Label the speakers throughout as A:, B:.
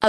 A: A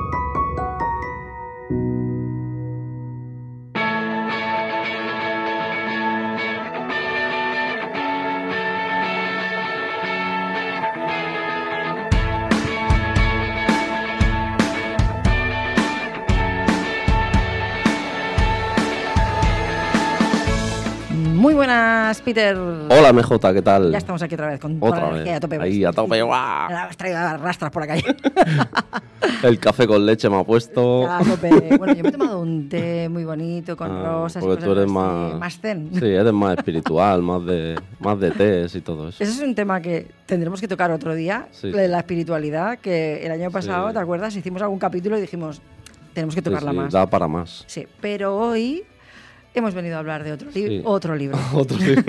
B: Muy buenas, Peter.
C: Hola, MJ, ¿qué tal?
B: Ya estamos aquí otra vez con toda
C: Otra
B: la energía
C: vez.
B: a tope. pues,
C: Ahí, a tope, guau.
B: Has traído a rastras por la calle.
C: El café con leche me ha puesto.
B: A tope. Bueno, yo me he tomado un té muy bonito con
C: Oh. Ah,
B: rosas. y
C: porque
B: cosas
C: tú eres
B: así,
C: más...
B: más zen.
C: Sí, eres más espiritual, más de, más de tés y todo eso.
B: Ese es un tema que tendremos que tocar otro día,
C: Sí.
B: la, la espiritualidad, que el año pasado,
C: Sí.
B: ¿te acuerdas? Hicimos algún capítulo y dijimos, tenemos que
C: Sí,
B: tocarla
C: sí,
B: más.
C: Da para más.
B: Sí, pero hoy hemos venido a hablar de otro, li-
C: Sí.
B: otro libro.
C: Otro libro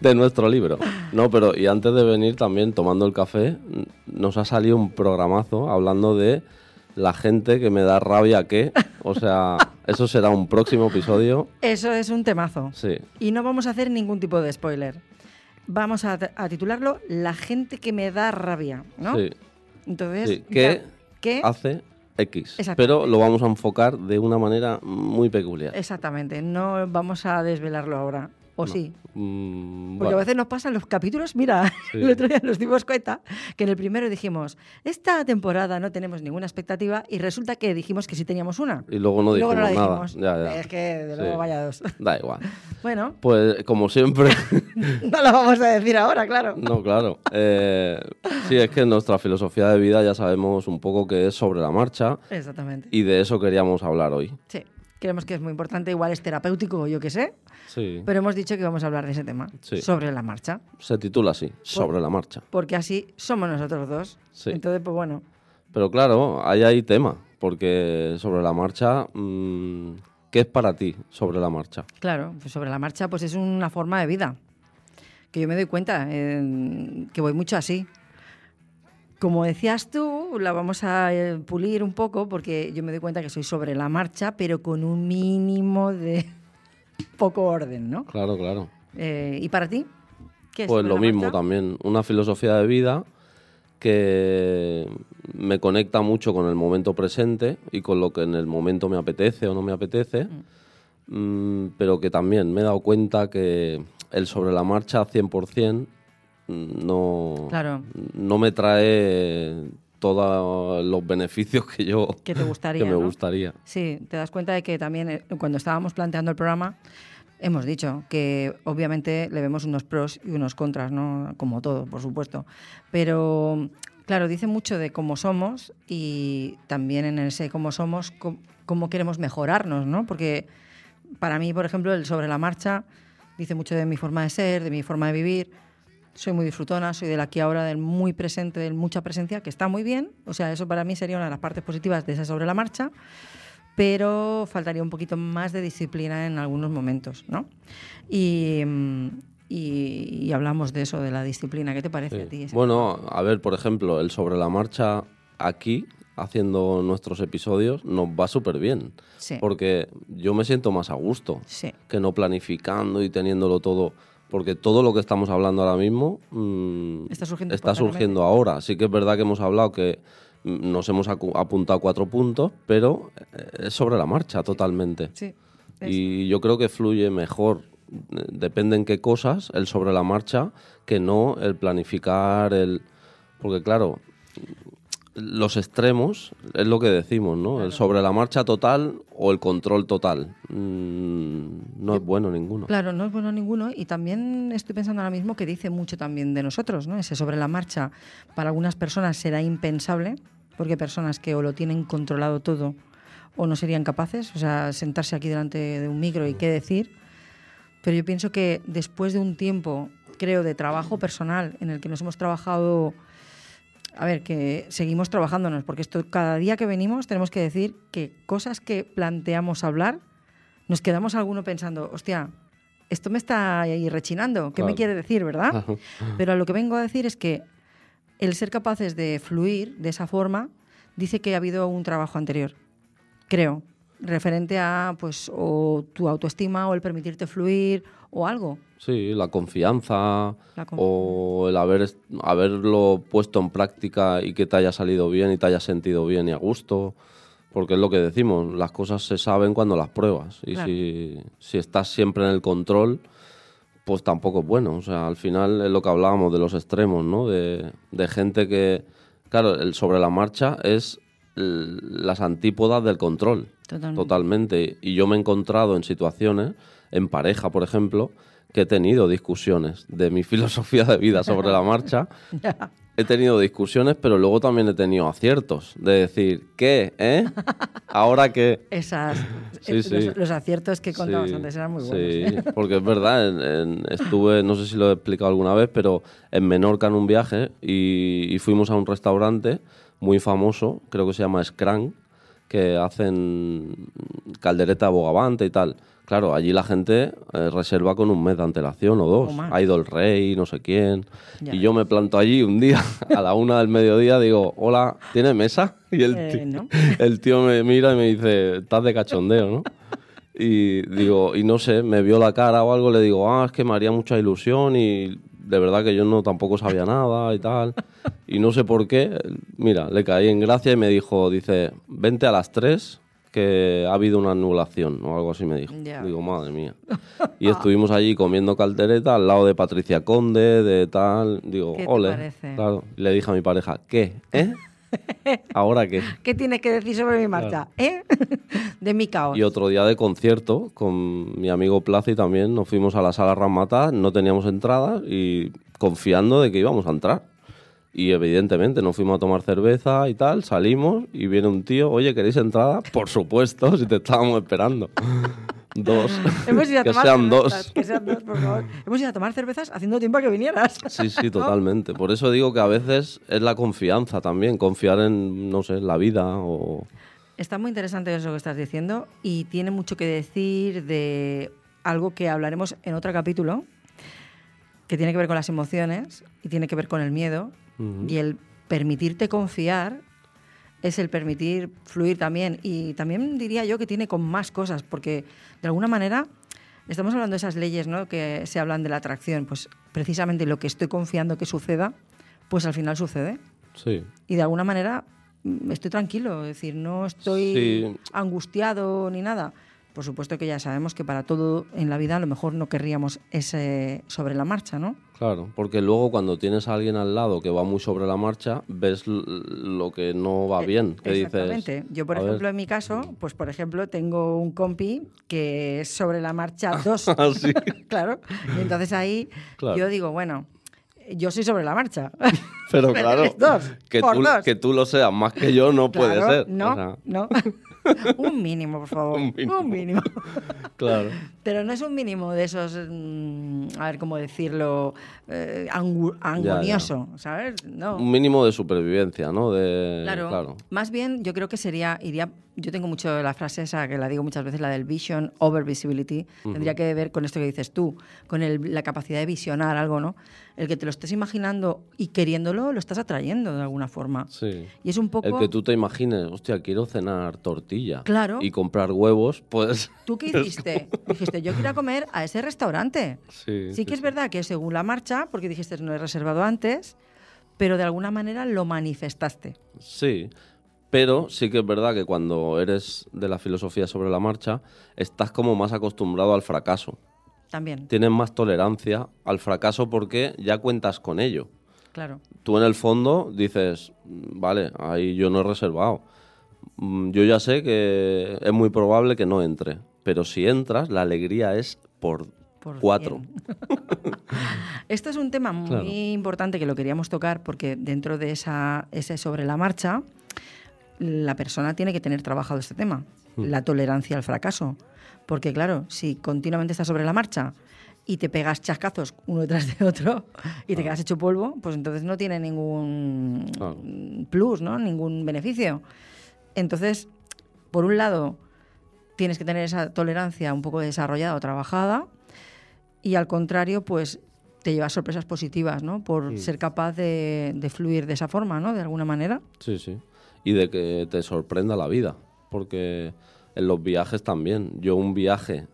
C: de nuestro libro. No, pero y antes de venir también tomando el café, n- nos ha salido un programazo hablando de la gente que me da rabia que. O sea, eso será un próximo episodio.
B: Eso es un temazo.
C: Sí,
B: Y no vamos a hacer ningún tipo de spoiler. Vamos a, a titularlo La gente que me da rabia, ¿no?
C: sí.
B: Entonces,
C: Sí, ¿qué
B: ya- ¿qué?
C: hace X.
B: Exacto.
C: Pero lo vamos a enfocar de una manera muy peculiar.
B: Exactamente, no vamos a desvelarlo ahora. O sí.
C: Mm,
B: Porque
C: bueno,
B: a veces nos pasan los capítulos, mira,
C: Sí.
B: el otro día nos dimos cuenta que en el primero dijimos, esta temporada no tenemos ninguna expectativa y resulta que dijimos que sí teníamos una.
C: Y luego no
B: Luego
C: dijimos
B: no la
C: nada.
B: dijimos.
C: Ya, ya.
B: Es que de
C: Sí.
B: luego vaya dos.
C: Da igual.
B: Bueno,
C: Pues como siempre,
B: no lo vamos a decir ahora, claro.
C: no, claro. Eh, sí, es que nuestra filosofía de vida ya sabemos un poco que es sobre la marcha
B: Exactamente.
C: y de eso queríamos hablar hoy.
B: Sí, creemos que es muy importante, igual es terapéutico, yo qué sé,
C: Sí.
B: pero hemos dicho que vamos a hablar de ese tema,
C: Sí.
B: sobre la marcha,
C: Se titula así,
B: Pues
C: sobre la marcha.
B: porque así somos nosotros dos.
C: Sí.
B: Entonces, pues bueno,
C: Pero claro, ahí hay tema, porque sobre la marcha, mm, ¿qué es para ti sobre la marcha?
B: Claro, pues sobre la marcha pues es una forma de vida. Que yo me doy cuenta eh, que voy mucho así. Como decías tú, la vamos a eh, pulir un poco porque yo me doy cuenta que soy sobre la marcha, pero con un mínimo de poco orden, ¿no?
C: Claro, claro.
B: Eh, ¿Y para ti? ¿Qué es
C: Pues
B: sobre
C: lo
B: la
C: mismo
B: marcha?
C: también, una filosofía de vida que me conecta mucho con el momento presente y con lo que en el momento me apetece o no me apetece, Mm, pero que también me he dado cuenta que el sobre la marcha 100% mm, no,
B: Claro.
C: no me trae todos los beneficios que yo
B: Que te gustaría,
C: que me
B: ¿no?
C: gustaría.
B: Sí, te das cuenta de que también eh, cuando estábamos planteando el programa hemos dicho que obviamente le vemos unos pros y unos contras, ¿no? Como todo, por supuesto. Pero claro, dice mucho de cómo somos y también en ese cómo somos, co- cómo, queremos mejorarnos, ¿no? Porque para mí, por ejemplo, el sobre la marcha dice mucho de mi forma de ser, de mi forma de vivir. Soy muy disfrutona, soy del aquí ahora, del muy presente, del mucha presencia, que está muy bien. O sea, eso para mí sería una de las partes positivas de esa sobre la marcha pero faltaría un poquito más de disciplina en algunos momentos, ¿no? Y, mm, y- y hablamos de eso, de la disciplina. ¿Qué te parece a ti? ese?
C: Bueno, a ver, por ejemplo, el sobre la marcha aquí, haciendo nuestros episodios, nos va súper bien.
B: Sí.
C: Porque yo me siento más a gusto
B: Sí.
C: que no planificando y teniéndolo todo. Porque todo lo que estamos hablando ahora mismo mm,
B: Está surgiendo
C: está surgiendo ahora. Sí que es verdad que hemos hablado que mm, nos hemos acu- apuntado cuatro puntos, pero eh, es sobre la marcha totalmente.
B: Sí. Es-
C: Y yo creo que fluye mejor, eh, depende en qué cosas, el sobre la marcha, que no el planificar, el... Porque claro, los extremos es lo que decimos, ¿no? El sobre la marcha total o el control total. Mm, no es bueno ninguno.
B: Claro, no es bueno ninguno. Y también estoy pensando ahora mismo que dice mucho también de nosotros, ¿no? Ese sobre la marcha para algunas personas será impensable, porque personas que o lo tienen controlado todo o no serían capaces, o sea, sentarse aquí delante de un micro y qué decir. Pero yo pienso que después de un tiempo, creo, de trabajo personal en el que nos hemos trabajado a ver, que seguimos trabajándonos, porque esto cada día que venimos tenemos que decir que cosas que planteamos hablar, nos quedamos alguno pensando, hostia, esto me está ahí rechinando, ¿qué me
C: Claro.
B: quiere decir, verdad? Pero a lo que vengo a decir es que el ser capaces de fluir de esa forma dice que ha habido un trabajo anterior, que creo, referente a pues o tu autoestima o el permitirte fluir o algo.
C: Sí, la confianza
B: La conf-
C: o el haber, est- haberlo puesto en práctica y que te haya salido bien y te haya sentido bien y a gusto. Porque es lo que decimos, las cosas se saben cuando las pruebas. Y
B: Claro.
C: si, si estás siempre en el control, pues tampoco es bueno. O sea, al final es lo que hablábamos de los extremos, ¿no? De, de gente que, claro, el sobre la marcha es l- las antípodas del control.
B: Totalmente.
C: Totalmente. Y yo me he encontrado en situaciones, en pareja, por ejemplo, que he tenido discusiones de mi filosofía de vida sobre la marcha. He tenido discusiones, pero luego también he tenido aciertos. De decir, ¿qué? ¿Eh? ¿Ahora qué?
B: Esas, eh,
C: Sí, sí.
B: Los, los aciertos que contabas
C: Sí,
B: antes eran muy buenos. ¿eh?
C: sí, porque es verdad, en- en- estuve, no sé si lo he explicado alguna vez, pero en Menorca en un viaje y, y fuimos a un restaurante muy famoso, creo que se llama Scrank, que hacen caldereta bogavante y tal. Claro, allí la gente eh, reserva con un mes de antelación o dos.
B: O más.
C: Ha ido el rey, no sé quién.
B: Ya
C: y yo me planto allí un día, a la una del mediodía, digo, hola, ¿tiene mesa? Y el,
B: Eh,
C: ti-
B: no.
C: el tío me mira y me dice, estás de cachondeo, ¿no? Y digo, y no sé, me vio la cara o algo, le digo, ah, es que me haría mucha ilusión y de verdad que yo no tampoco sabía nada y tal. Y no sé por qué, mira, le caí en gracia y me dijo, dice, vente a las 3 que ha habido una anulación o algo así me dijo.
B: Ya.
C: Digo, madre mía. Y estuvimos allí comiendo caldereta al lado de Patricia Conde, de tal. Digo,
B: ¿Qué te
C: ole.
B: parece?
C: Claro. Y le dije a mi pareja, ¿qué? ¿Eh? ¿Ahora qué?
B: ¿Qué tienes que decir sobre mi marcha? ¿Eh? De mi caos.
C: Y otro día de concierto con mi amigo Placi también. Nos fuimos a la sala Ramata, no teníamos entradas y confiando de que íbamos a entrar. Y evidentemente nos fuimos a tomar cerveza y tal, salimos y viene un tío, oye, ¿queréis entrada? Por supuesto, si te estábamos esperando. dos.
B: Hemos ido a
C: que
B: tomar
C: sean
B: cervezas,
C: dos.
B: Que sean dos, por favor. Hemos ido a tomar cervezas haciendo tiempo a que vinieras.
C: Sí, sí, totalmente. Por eso digo que a veces es la confianza también, confiar en, no sé, la vida o...
B: Está muy interesante eso que estás diciendo y tiene mucho que decir de algo que hablaremos en otro capítulo, que tiene que ver con las emociones y tiene que ver con el miedo. Y el permitirte confiar es el permitir fluir también. Y también diría yo que tiene con más cosas, porque de alguna manera estamos hablando de esas leyes ¿no? que se hablan de la atracción. Pues precisamente lo que estoy confiando que suceda, pues al final sucede
C: Sí.
B: y de alguna manera mm, estoy tranquilo, es decir, no estoy
C: Sí.
B: angustiado ni nada. Por supuesto que ya sabemos que para todo en la vida a lo mejor no querríamos ese sobre la marcha, ¿no?
C: Claro, porque luego cuando tienes a alguien al lado que va muy sobre la marcha, ves l- lo que no va bien. Que dices,
B: Eh, Exactamente. Yo, por
C: "A ver".
B: ejemplo, en mi caso, pues por ejemplo, tengo un compi que es sobre la marcha dos.
C: Ah, sí.
B: claro. Y entonces ahí
C: Claro.
B: yo digo, bueno, yo soy sobre la marcha.
C: Pero claro,
B: eres dos,
C: que,
B: por
C: tú,
B: dos.
C: que tú lo seas más que yo no puede
B: Claro,
C: ser.
B: No,
C: o sea,
B: no. un mínimo, por favor.
C: Un mínimo.
B: Un mínimo.
C: claro.
B: Pero no es un mínimo de esos, mm, a ver cómo decirlo, eh, angu- angonioso, ¿sabes? No.
C: Un mínimo de supervivencia, ¿no? De,
B: Claro. Más bien, yo creo que sería, iría, yo tengo mucho la frase esa que la digo muchas veces, la del vision over visibility, tendría que ver con esto que dices tú, con el- la capacidad de visionar algo, ¿no? El que te lo estés imaginando y queriéndolo, lo estás atrayendo de alguna forma.
C: Sí.
B: Y es un poco...
C: El que tú te imagines, hostia, quiero cenar tortilla
B: Claro.
C: y comprar huevos, pues...
B: ¿Tú qué hiciste? Dijiste, yo quiero comer a ese restaurante.
C: Sí,
B: Sí que es verdad que según la marcha, porque dijiste no he reservado antes, pero de alguna manera lo manifestaste.
C: Sí, pero sí que es verdad que cuando eres de la filosofía sobre la marcha, estás como más acostumbrado al fracaso.
B: También,
C: Tienes más tolerancia al fracaso porque ya cuentas con ello.
B: claro.
C: Tú en el fondo dices, vale, ahí yo no he reservado. Mm, Yo ya sé que es muy probable que no entre, pero si entras, la alegría es por,
B: Por
C: cuatro.
B: cien. Este es un tema muy
C: Claro.
B: importante que lo queríamos tocar porque dentro de esa, ese sobre la marcha, la persona tiene que tener trabajado este tema,
C: Mm.
B: la tolerancia al fracaso. Porque claro, si continuamente estás sobre la marcha y te pegas chascazos uno tras de otro y te quedas hecho polvo, pues entonces no tiene ningún
C: Claro.
B: mm, plus, ¿no? ningún beneficio. Entonces, por un lado, tienes que tener esa tolerancia un poco desarrollada o trabajada y al contrario, pues te llevas sorpresas positivas, ¿no? Por ser capaz de, de fluir de esa forma, ¿no? De alguna manera.
C: Sí, sí. Y de que te sorprenda la vida. porque en los viajes también. Yo un viaje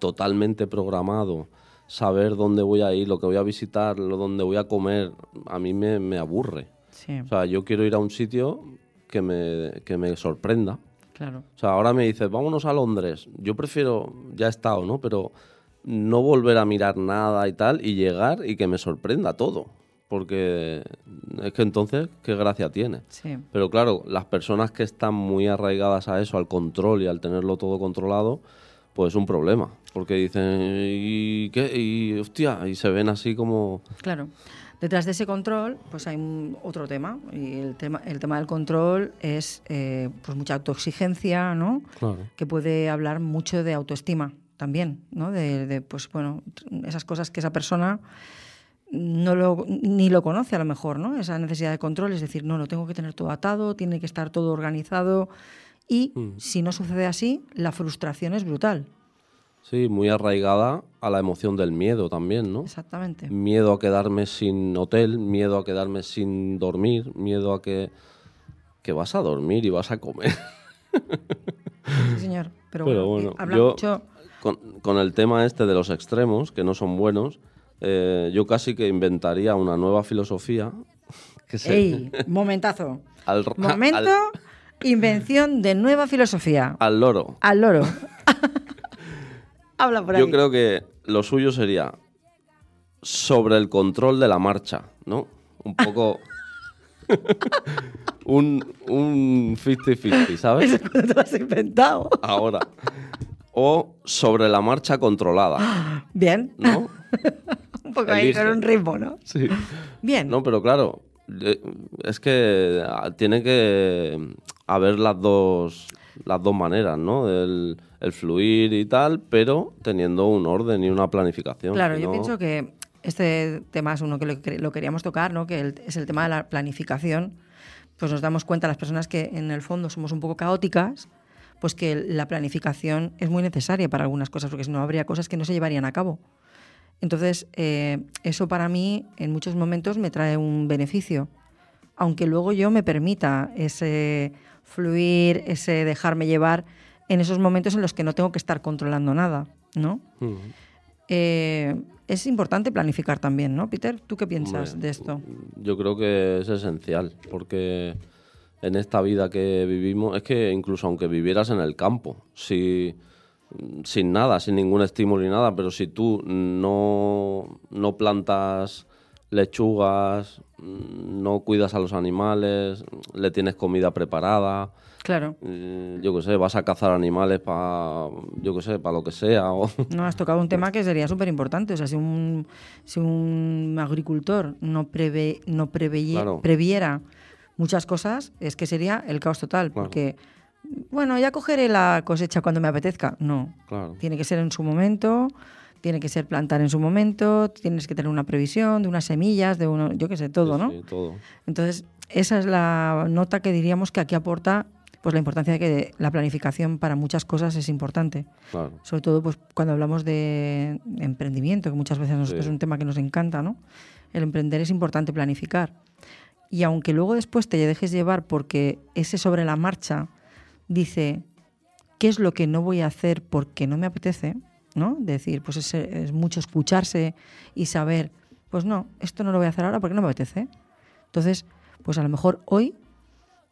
C: totalmente programado, saber dónde voy a ir, lo que voy a visitar, lo dónde voy a comer, a mí me, me aburre.
B: Sí,
C: O sea, yo quiero ir a un sitio que me, que me sorprenda.
B: claro.
C: O sea, ahora me dices, vámonos a Londres. Yo prefiero, ya he estado, ¿no? Pero no volver a mirar nada y tal y llegar y que me sorprenda todo. Porque es que entonces, ¿qué gracia tiene?
B: Sí,
C: Pero claro, las personas que están muy arraigadas a eso, al control y al tenerlo todo controlado, pues es un problema. Porque dicen, ¿y qué? Y hostia, y se ven así como...
B: claro. Detrás de ese control, pues hay un- otro tema. Y el tema, el tema del control es eh, pues mucha autoexigencia, ¿no?
C: Claro.
B: que puede hablar mucho de autoestima también, ¿no? De, de, pues bueno, esas cosas que esa persona no lo, ni lo conoce a lo mejor, ¿no? Esa necesidad de control, es decir, no, lo tengo que tener todo atado, tiene que estar todo organizado y
C: Mm.
B: si no sucede así, la frustración es brutal.
C: Sí, muy arraigada a la emoción del miedo también, ¿no?
B: Exactamente.
C: miedo a quedarme sin hotel, miedo a quedarme sin dormir, miedo a que, que vas a dormir y vas a comer.
B: Sí, señor. Pero,
C: Pero
B: bueno,
C: bueno,
B: habla
C: yo-
B: mucho.
C: Con, con el tema este de los extremos, que no son buenos, eh, yo casi que inventaría una nueva filosofía. Que se-
B: ¡Ey! Momentazo.
C: Al-
B: Momento, invención de nueva filosofía.
C: al loro.
B: Al loro. habla por
C: Yo
B: ahí.
C: creo que lo suyo sería sobre el control de la marcha, ¿no? Un poco... un un 50-50, ¿sabes?
B: Eso cuando te lo has inventado.
C: ahora. O sobre la marcha controlada,
B: Bien.
C: ¿no?
B: Un poco ahí
C: Elige.
B: con un ritmo, ¿no?
C: Sí.
B: Bien.
C: No, pero claro, eh, es que ah, tiene que haber las dos, las dos maneras, ¿no? El, el fluir y tal, pero teniendo un orden y una planificación.
B: claro,
C: si
B: yo
C: no-
B: pienso que este tema es uno que lo, que- lo queríamos tocar, ¿no? Que el- es el tema de la planificación. Pues nos damos cuenta las personas que en el fondo somos un poco caóticas, pues que la planificación es muy necesaria para algunas cosas, porque si no habría cosas que no se llevarían a cabo. Entonces, eh, eso para mí en muchos momentos me trae un beneficio. Aunque luego yo me permita ese fluir, ese dejarme llevar en esos momentos en los que no tengo que estar controlando nada, ¿no?
C: Mm.
B: Eh, es importante planificar también, ¿no, Peter? ¿Tú qué piensas
C: Hombre,
B: de esto?
C: Yo creo que es esencial, porque en esta vida que vivimos, es que incluso aunque vivieras en el campo, si, sin nada, sin ningún estímulo ni nada, pero si tú no, no plantas lechugas, mm, no cuidas a los animales, le tienes comida preparada,
B: Claro,
C: eh, yo qué sé, vas a cazar animales para, yo qué sé, para lo que sea, o-
B: no has tocado un tema que sería súper importante. O sea, si un, si un agricultor no, preve, no preveye-
C: Claro.
B: previera muchas cosas, es que sería el caos total.
C: Claro.
B: Porque, bueno, ya cogeré la cosecha cuando me apetezca. No,
C: claro.
B: tiene que ser en su momento. Tiene que ser plantar en su momento, tienes que tener una previsión de unas semillas, de uno, yo qué sé, todo,
C: Sí,
B: ¿no?
C: sí, todo.
B: Entonces, esa es la nota que diríamos que aquí aporta pues la importancia de que la planificación para muchas cosas es importante.
C: Claro.
B: Sobre todo pues cuando hablamos de emprendimiento, que muchas veces a nosotros
C: Sí.
B: es un tema que nos encanta, ¿no? El emprender es importante planificar. Y aunque luego después te dejes llevar porque ese sobre la marcha dice qué es lo que no voy a hacer porque no me apetece, ¿no? Decir, pues es, es mucho escucharse y saber, pues no, esto no lo voy a hacer ahora porque no me apetece. Entonces, pues a lo mejor hoy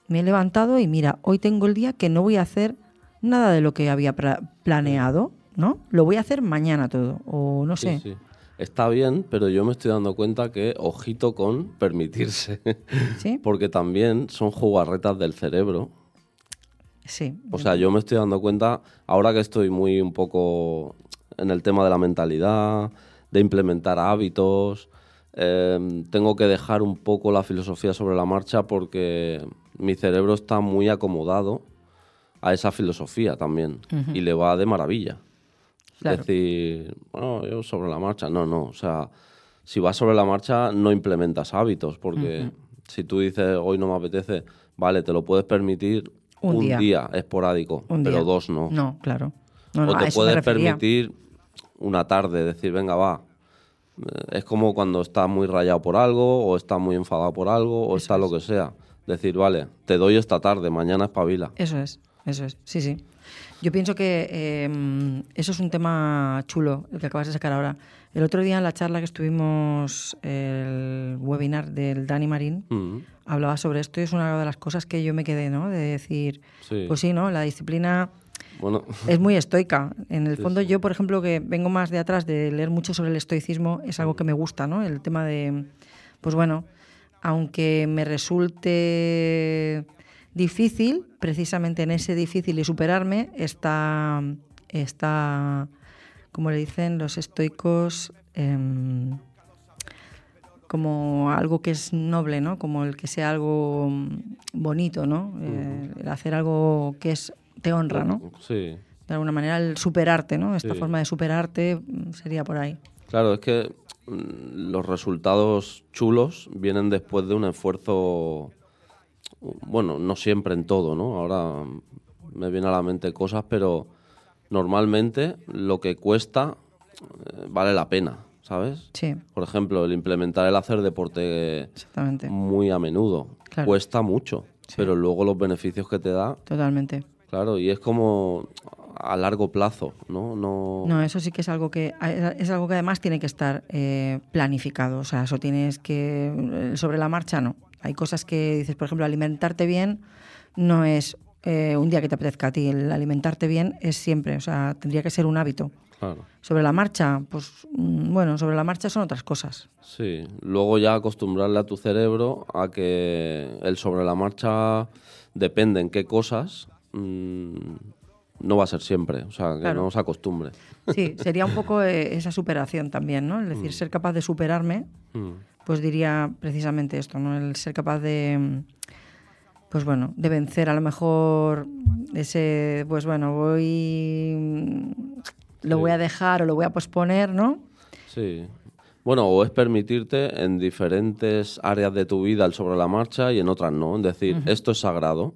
B: me he levantado y mira, hoy tengo el día que no voy a hacer nada de lo que había pra- planeado, ¿no? Lo voy a hacer mañana todo, o no
C: Sí,
B: sé.
C: sí. Está bien, pero yo me estoy dando cuenta que ojito con permitirse,
B: Sí,
C: porque también son jugarretas del cerebro.
B: sí.
C: O sea, yo me estoy dando cuenta, ahora que estoy muy un poco en el tema de la mentalidad, de implementar hábitos, eh, tengo que dejar un poco la filosofía sobre la marcha porque mi cerebro está muy acomodado a esa filosofía también y le va de maravilla.
B: Claro.
C: decir, bueno, yo sobre la marcha. No, no. O sea, si vas sobre la marcha, no implementas hábitos, porque si tú dices hoy no me apetece, vale, te lo puedes permitir
B: Un
C: un,
B: día.
C: día. esporádico,
B: Un
C: pero
B: día.
C: dos no.
B: No, claro. No, no,
C: o
B: a
C: te
B: eso me
C: puedes
B: refería.
C: permitir una tarde, decir, venga, va. Eh, Es como cuando estás muy rayado por algo, o estás muy enfadado por algo, o está lo que sea. Decir, vale, te doy esta tarde, mañana espabila.
B: Eso es. Eso es, sí, sí. Yo pienso que eh, eso es un tema chulo, el que acabas de sacar ahora. El otro día en la charla que estuvimos, el webinar del Dani Marín,
C: Mm,
B: hablaba sobre esto y es una de las cosas que yo me quedé, ¿no? De decir,
C: Sí.
B: pues sí, ¿no? La disciplina
C: Bueno,
B: es muy estoica. En el fondo, yo, por ejemplo, que vengo más de atrás de leer mucho sobre el estoicismo, es algo que me gusta, ¿no? El tema de, pues bueno, aunque me resulte difícil, precisamente en ese difícil y superarme está, está como le dicen los estoicos, em, como algo que es noble, ¿no? Como el que sea algo mm, bonito, ¿no? Eh, el hacer algo que es te honra, ¿no?
C: sí.
B: de alguna manera el superarte, ¿no? Esta
C: Sí.
B: forma de superarte mm, sería por ahí.
C: Claro, es que mm, los resultados chulos vienen después de un esfuerzo, bueno, no siempre en todo, ¿no? Ahora mm, me vienen a la mente cosas, pero normalmente lo que cuesta eh, vale la pena, ¿sabes?
B: Sí,
C: Por ejemplo, el implementar el hacer deporte
B: exactamente,
C: muy a menudo
B: Claro.
C: cuesta mucho,
B: Sí.
C: pero luego los beneficios que te da,
B: totalmente.
C: claro, y es como a largo plazo, ¿no? No,
B: No, eso sí que es algo que es algo que además tiene que estar eh, planificado. O sea, eso tienes que eh, sobre la marcha no. Hay cosas que dices, por ejemplo, alimentarte bien no es eh, un día que te apetezca a ti. El alimentarte bien es siempre. O sea, tendría que ser un hábito.
C: claro.
B: Sobre la marcha, pues mm, bueno, sobre la marcha son otras cosas.
C: Sí, luego ya acostumbrarle a tu cerebro a que el sobre la marcha depende en qué cosas, mm, no va a ser siempre, o sea, que
B: Claro.
C: no se acostumbre.
B: Sí, sería un poco eh, esa superación también, ¿no? Es decir, ser capaz de superarme
C: Mm,
B: pues diría precisamente esto, ¿no? El ser capaz de mm, pues bueno, de vencer a lo mejor ese pues bueno, voy mm, lo
C: Sí.
B: voy a dejar o lo voy a posponer, ¿no?
C: Sí. Bueno, o es permitirte en diferentes áreas de tu vida el sobre la marcha y en otras no. Es decir, esto es sagrado.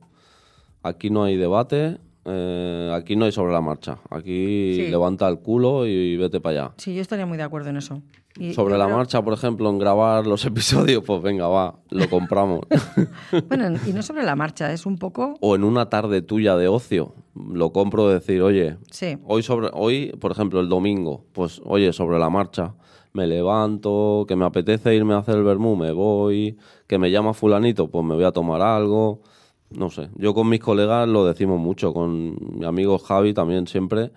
C: Aquí no hay debate, eh, aquí no hay sobre la marcha. Aquí
B: Sí.
C: levanta el culo y vete para allá.
B: Sí, yo estaría muy de acuerdo en eso. Y
C: Sobre
B: yo
C: la
B: creo-
C: marcha, por ejemplo, en grabar los episodios, pues venga, va, lo compramos.
B: Bueno, y no sobre la marcha, es un poco
C: o en una tarde tuya de ocio, lo compro decir, oye,
B: sí,
C: hoy sobre hoy, por ejemplo, el domingo, pues oye, sobre la marcha, me levanto, que me apetece irme a hacer el vermú, me voy, que me llama fulanito, pues me voy a tomar algo. No sé, yo con mis colegas lo decimos mucho, con mi amigo Javi también siempre.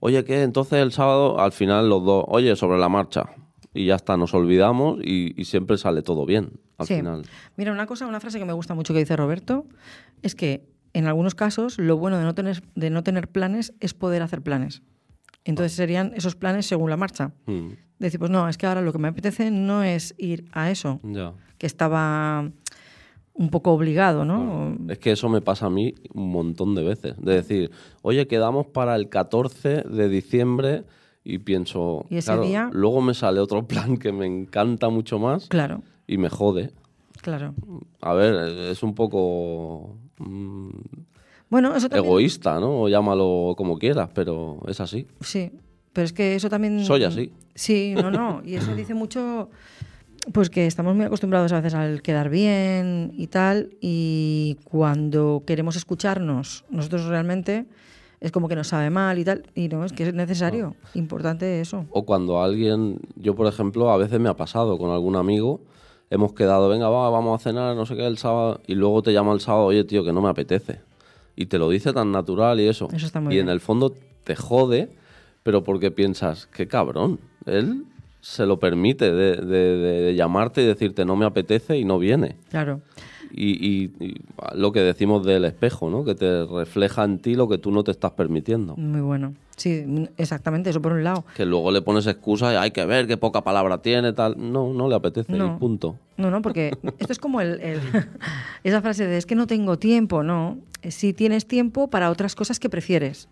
C: Oye, ¿qué? Entonces el sábado, al final los dos, oye, sobre la marcha. Y ya está, nos olvidamos y, y siempre sale todo bien al
B: Sí.
C: final.
B: Mira, una cosa, una frase que me gusta mucho que dice Roberto es que en algunos casos lo bueno de no tener, de no tener planes es poder hacer planes.
C: Ah.
B: Entonces serían esos planes según la marcha.
C: Mm,
B: Decir, pues no, es que ahora lo que me apetece no es ir a eso,
C: ya.
B: que estaba un poco obligado, ¿no?
C: Es que eso me pasa a mí un montón de veces. De decir, oye, quedamos para el 14 de diciembre y pienso,
B: ¿Y ese
C: claro,
B: día?
C: luego me sale otro plan que me encanta mucho más
B: Claro,
C: y me jode.
B: claro.
C: A ver, es un poco mm,
B: Bueno, eso también...
C: egoísta, ¿no? O llámalo como quieras, pero es así.
B: Sí, pero es que eso también...
C: Soy así.
B: Sí, no, no. Y eso dice mucho, pues que estamos muy acostumbrados a veces al quedar bien y tal, y cuando queremos escucharnos nosotros realmente, es como que nos sabe mal y tal, y no, es que es necesario, importante eso.
C: O cuando alguien, yo por ejemplo, a veces me ha pasado con algún amigo, hemos quedado, venga, va, vamos a cenar, no sé qué, el sábado, y luego te llama el sábado, oye, tío, que no me apetece. Y te lo dice tan natural y eso.
B: Eso está muy
C: y en
B: bien.
C: el fondo te jode, pero porque piensas, qué cabrón, él se lo permite de, de- de- de llamarte y decirte no me apetece y no viene.
B: Claro,
C: Y, y- y lo que decimos del espejo, ¿no? Que te refleja en ti lo que tú no te estás permitiendo.
B: muy bueno. Sí, exactamente, eso por un lado.
C: Que luego le pones excusas, hay que ver qué poca palabra tiene, tal. No, no le apetece,
B: No.
C: y punto.
B: No, no, porque esto es como el, el- esa frase de es que no tengo tiempo, no. Eh, Si tienes tiempo para otras cosas que prefieres.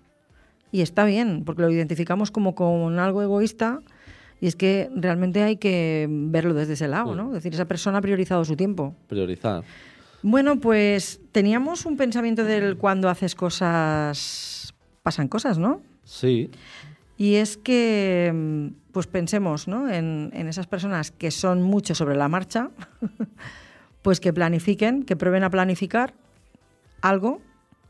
B: Y está bien, porque lo identificamos como con algo egoísta y es que realmente hay que verlo desde ese lado, ¿no? Es decir, esa persona ha priorizado su tiempo.
C: Priorizar.
B: Bueno, pues teníamos un pensamiento del cuando haces cosas, pasan cosas, ¿no?
C: Sí,
B: Y es que, mm, pues pensemos ¿no? en, en esas personas que son mucho sobre la marcha, pues que planifiquen, que prueben a planificar algo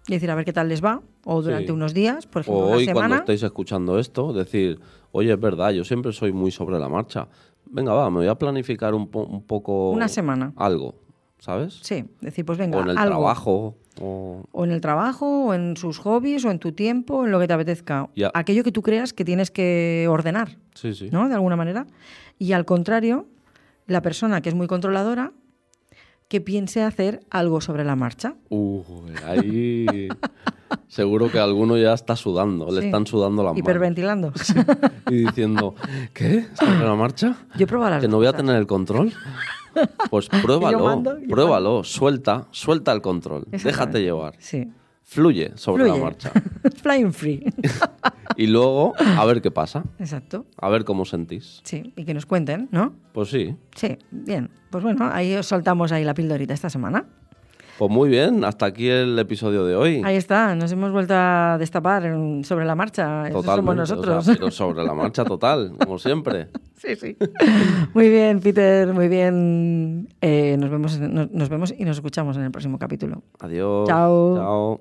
B: y decir a ver qué tal les va, o durante
C: Sí.
B: unos días, por ejemplo,
C: O
B: Pues una
C: hoy cuando
B: semana.
C: estáis escuchando esto, decir, oye, es verdad, yo siempre soy muy sobre la marcha. Venga, va, me voy a planificar un, po- un poco...
B: Una semana.
C: Algo, ¿sabes?
B: Sí, decir, pues venga,
C: o en el
B: algo.
C: trabajo. o-
B: O en el trabajo, o en sus hobbies, o en tu tiempo, en lo que te apetezca.
C: Ya.
B: Aquello que tú creas que tienes que ordenar,
C: Sí, sí.
B: ¿no? De alguna manera. Y al contrario, la persona que es muy controladora, que piense hacer algo sobre la marcha.
C: Uy, ahí seguro que alguno ya está sudando, le
B: Sí.
C: están sudando las manos
B: Hiperventilando.
C: y diciendo, ¿qué? ¿Sobre la marcha?
B: Yo he probado las
C: ¿Que no voy a
B: cosas.
C: tener el control? Pues pruébalo,
B: mando, yo
C: pruébalo, suelta, suelta el control,
B: Exactamente.
C: déjate llevar,
B: Sí.
C: fluye sobre la
B: Fluye.
C: marcha
B: Flying free.
C: y luego a ver qué pasa,
B: Exacto.
C: a ver cómo sentís.
B: Sí. Y que nos cuenten, ¿no?
C: Pues sí,
B: Sí, bien. Pues bueno, ahí os soltamos ahí la pildorita esta semana.
C: pues muy bien, hasta aquí el episodio de hoy.
B: Ahí está, nos hemos vuelto a destapar en- sobre la marcha. Eso somos
C: Totalmente, o sea,
B: nosotros.
C: pero sobre la marcha total, como siempre.
B: sí, sí. Muy bien, Peter, muy bien. Eh, nos, vemos, nos, nos vemos y nos escuchamos en el próximo capítulo.
C: Adiós.
B: Chao.
C: Chao.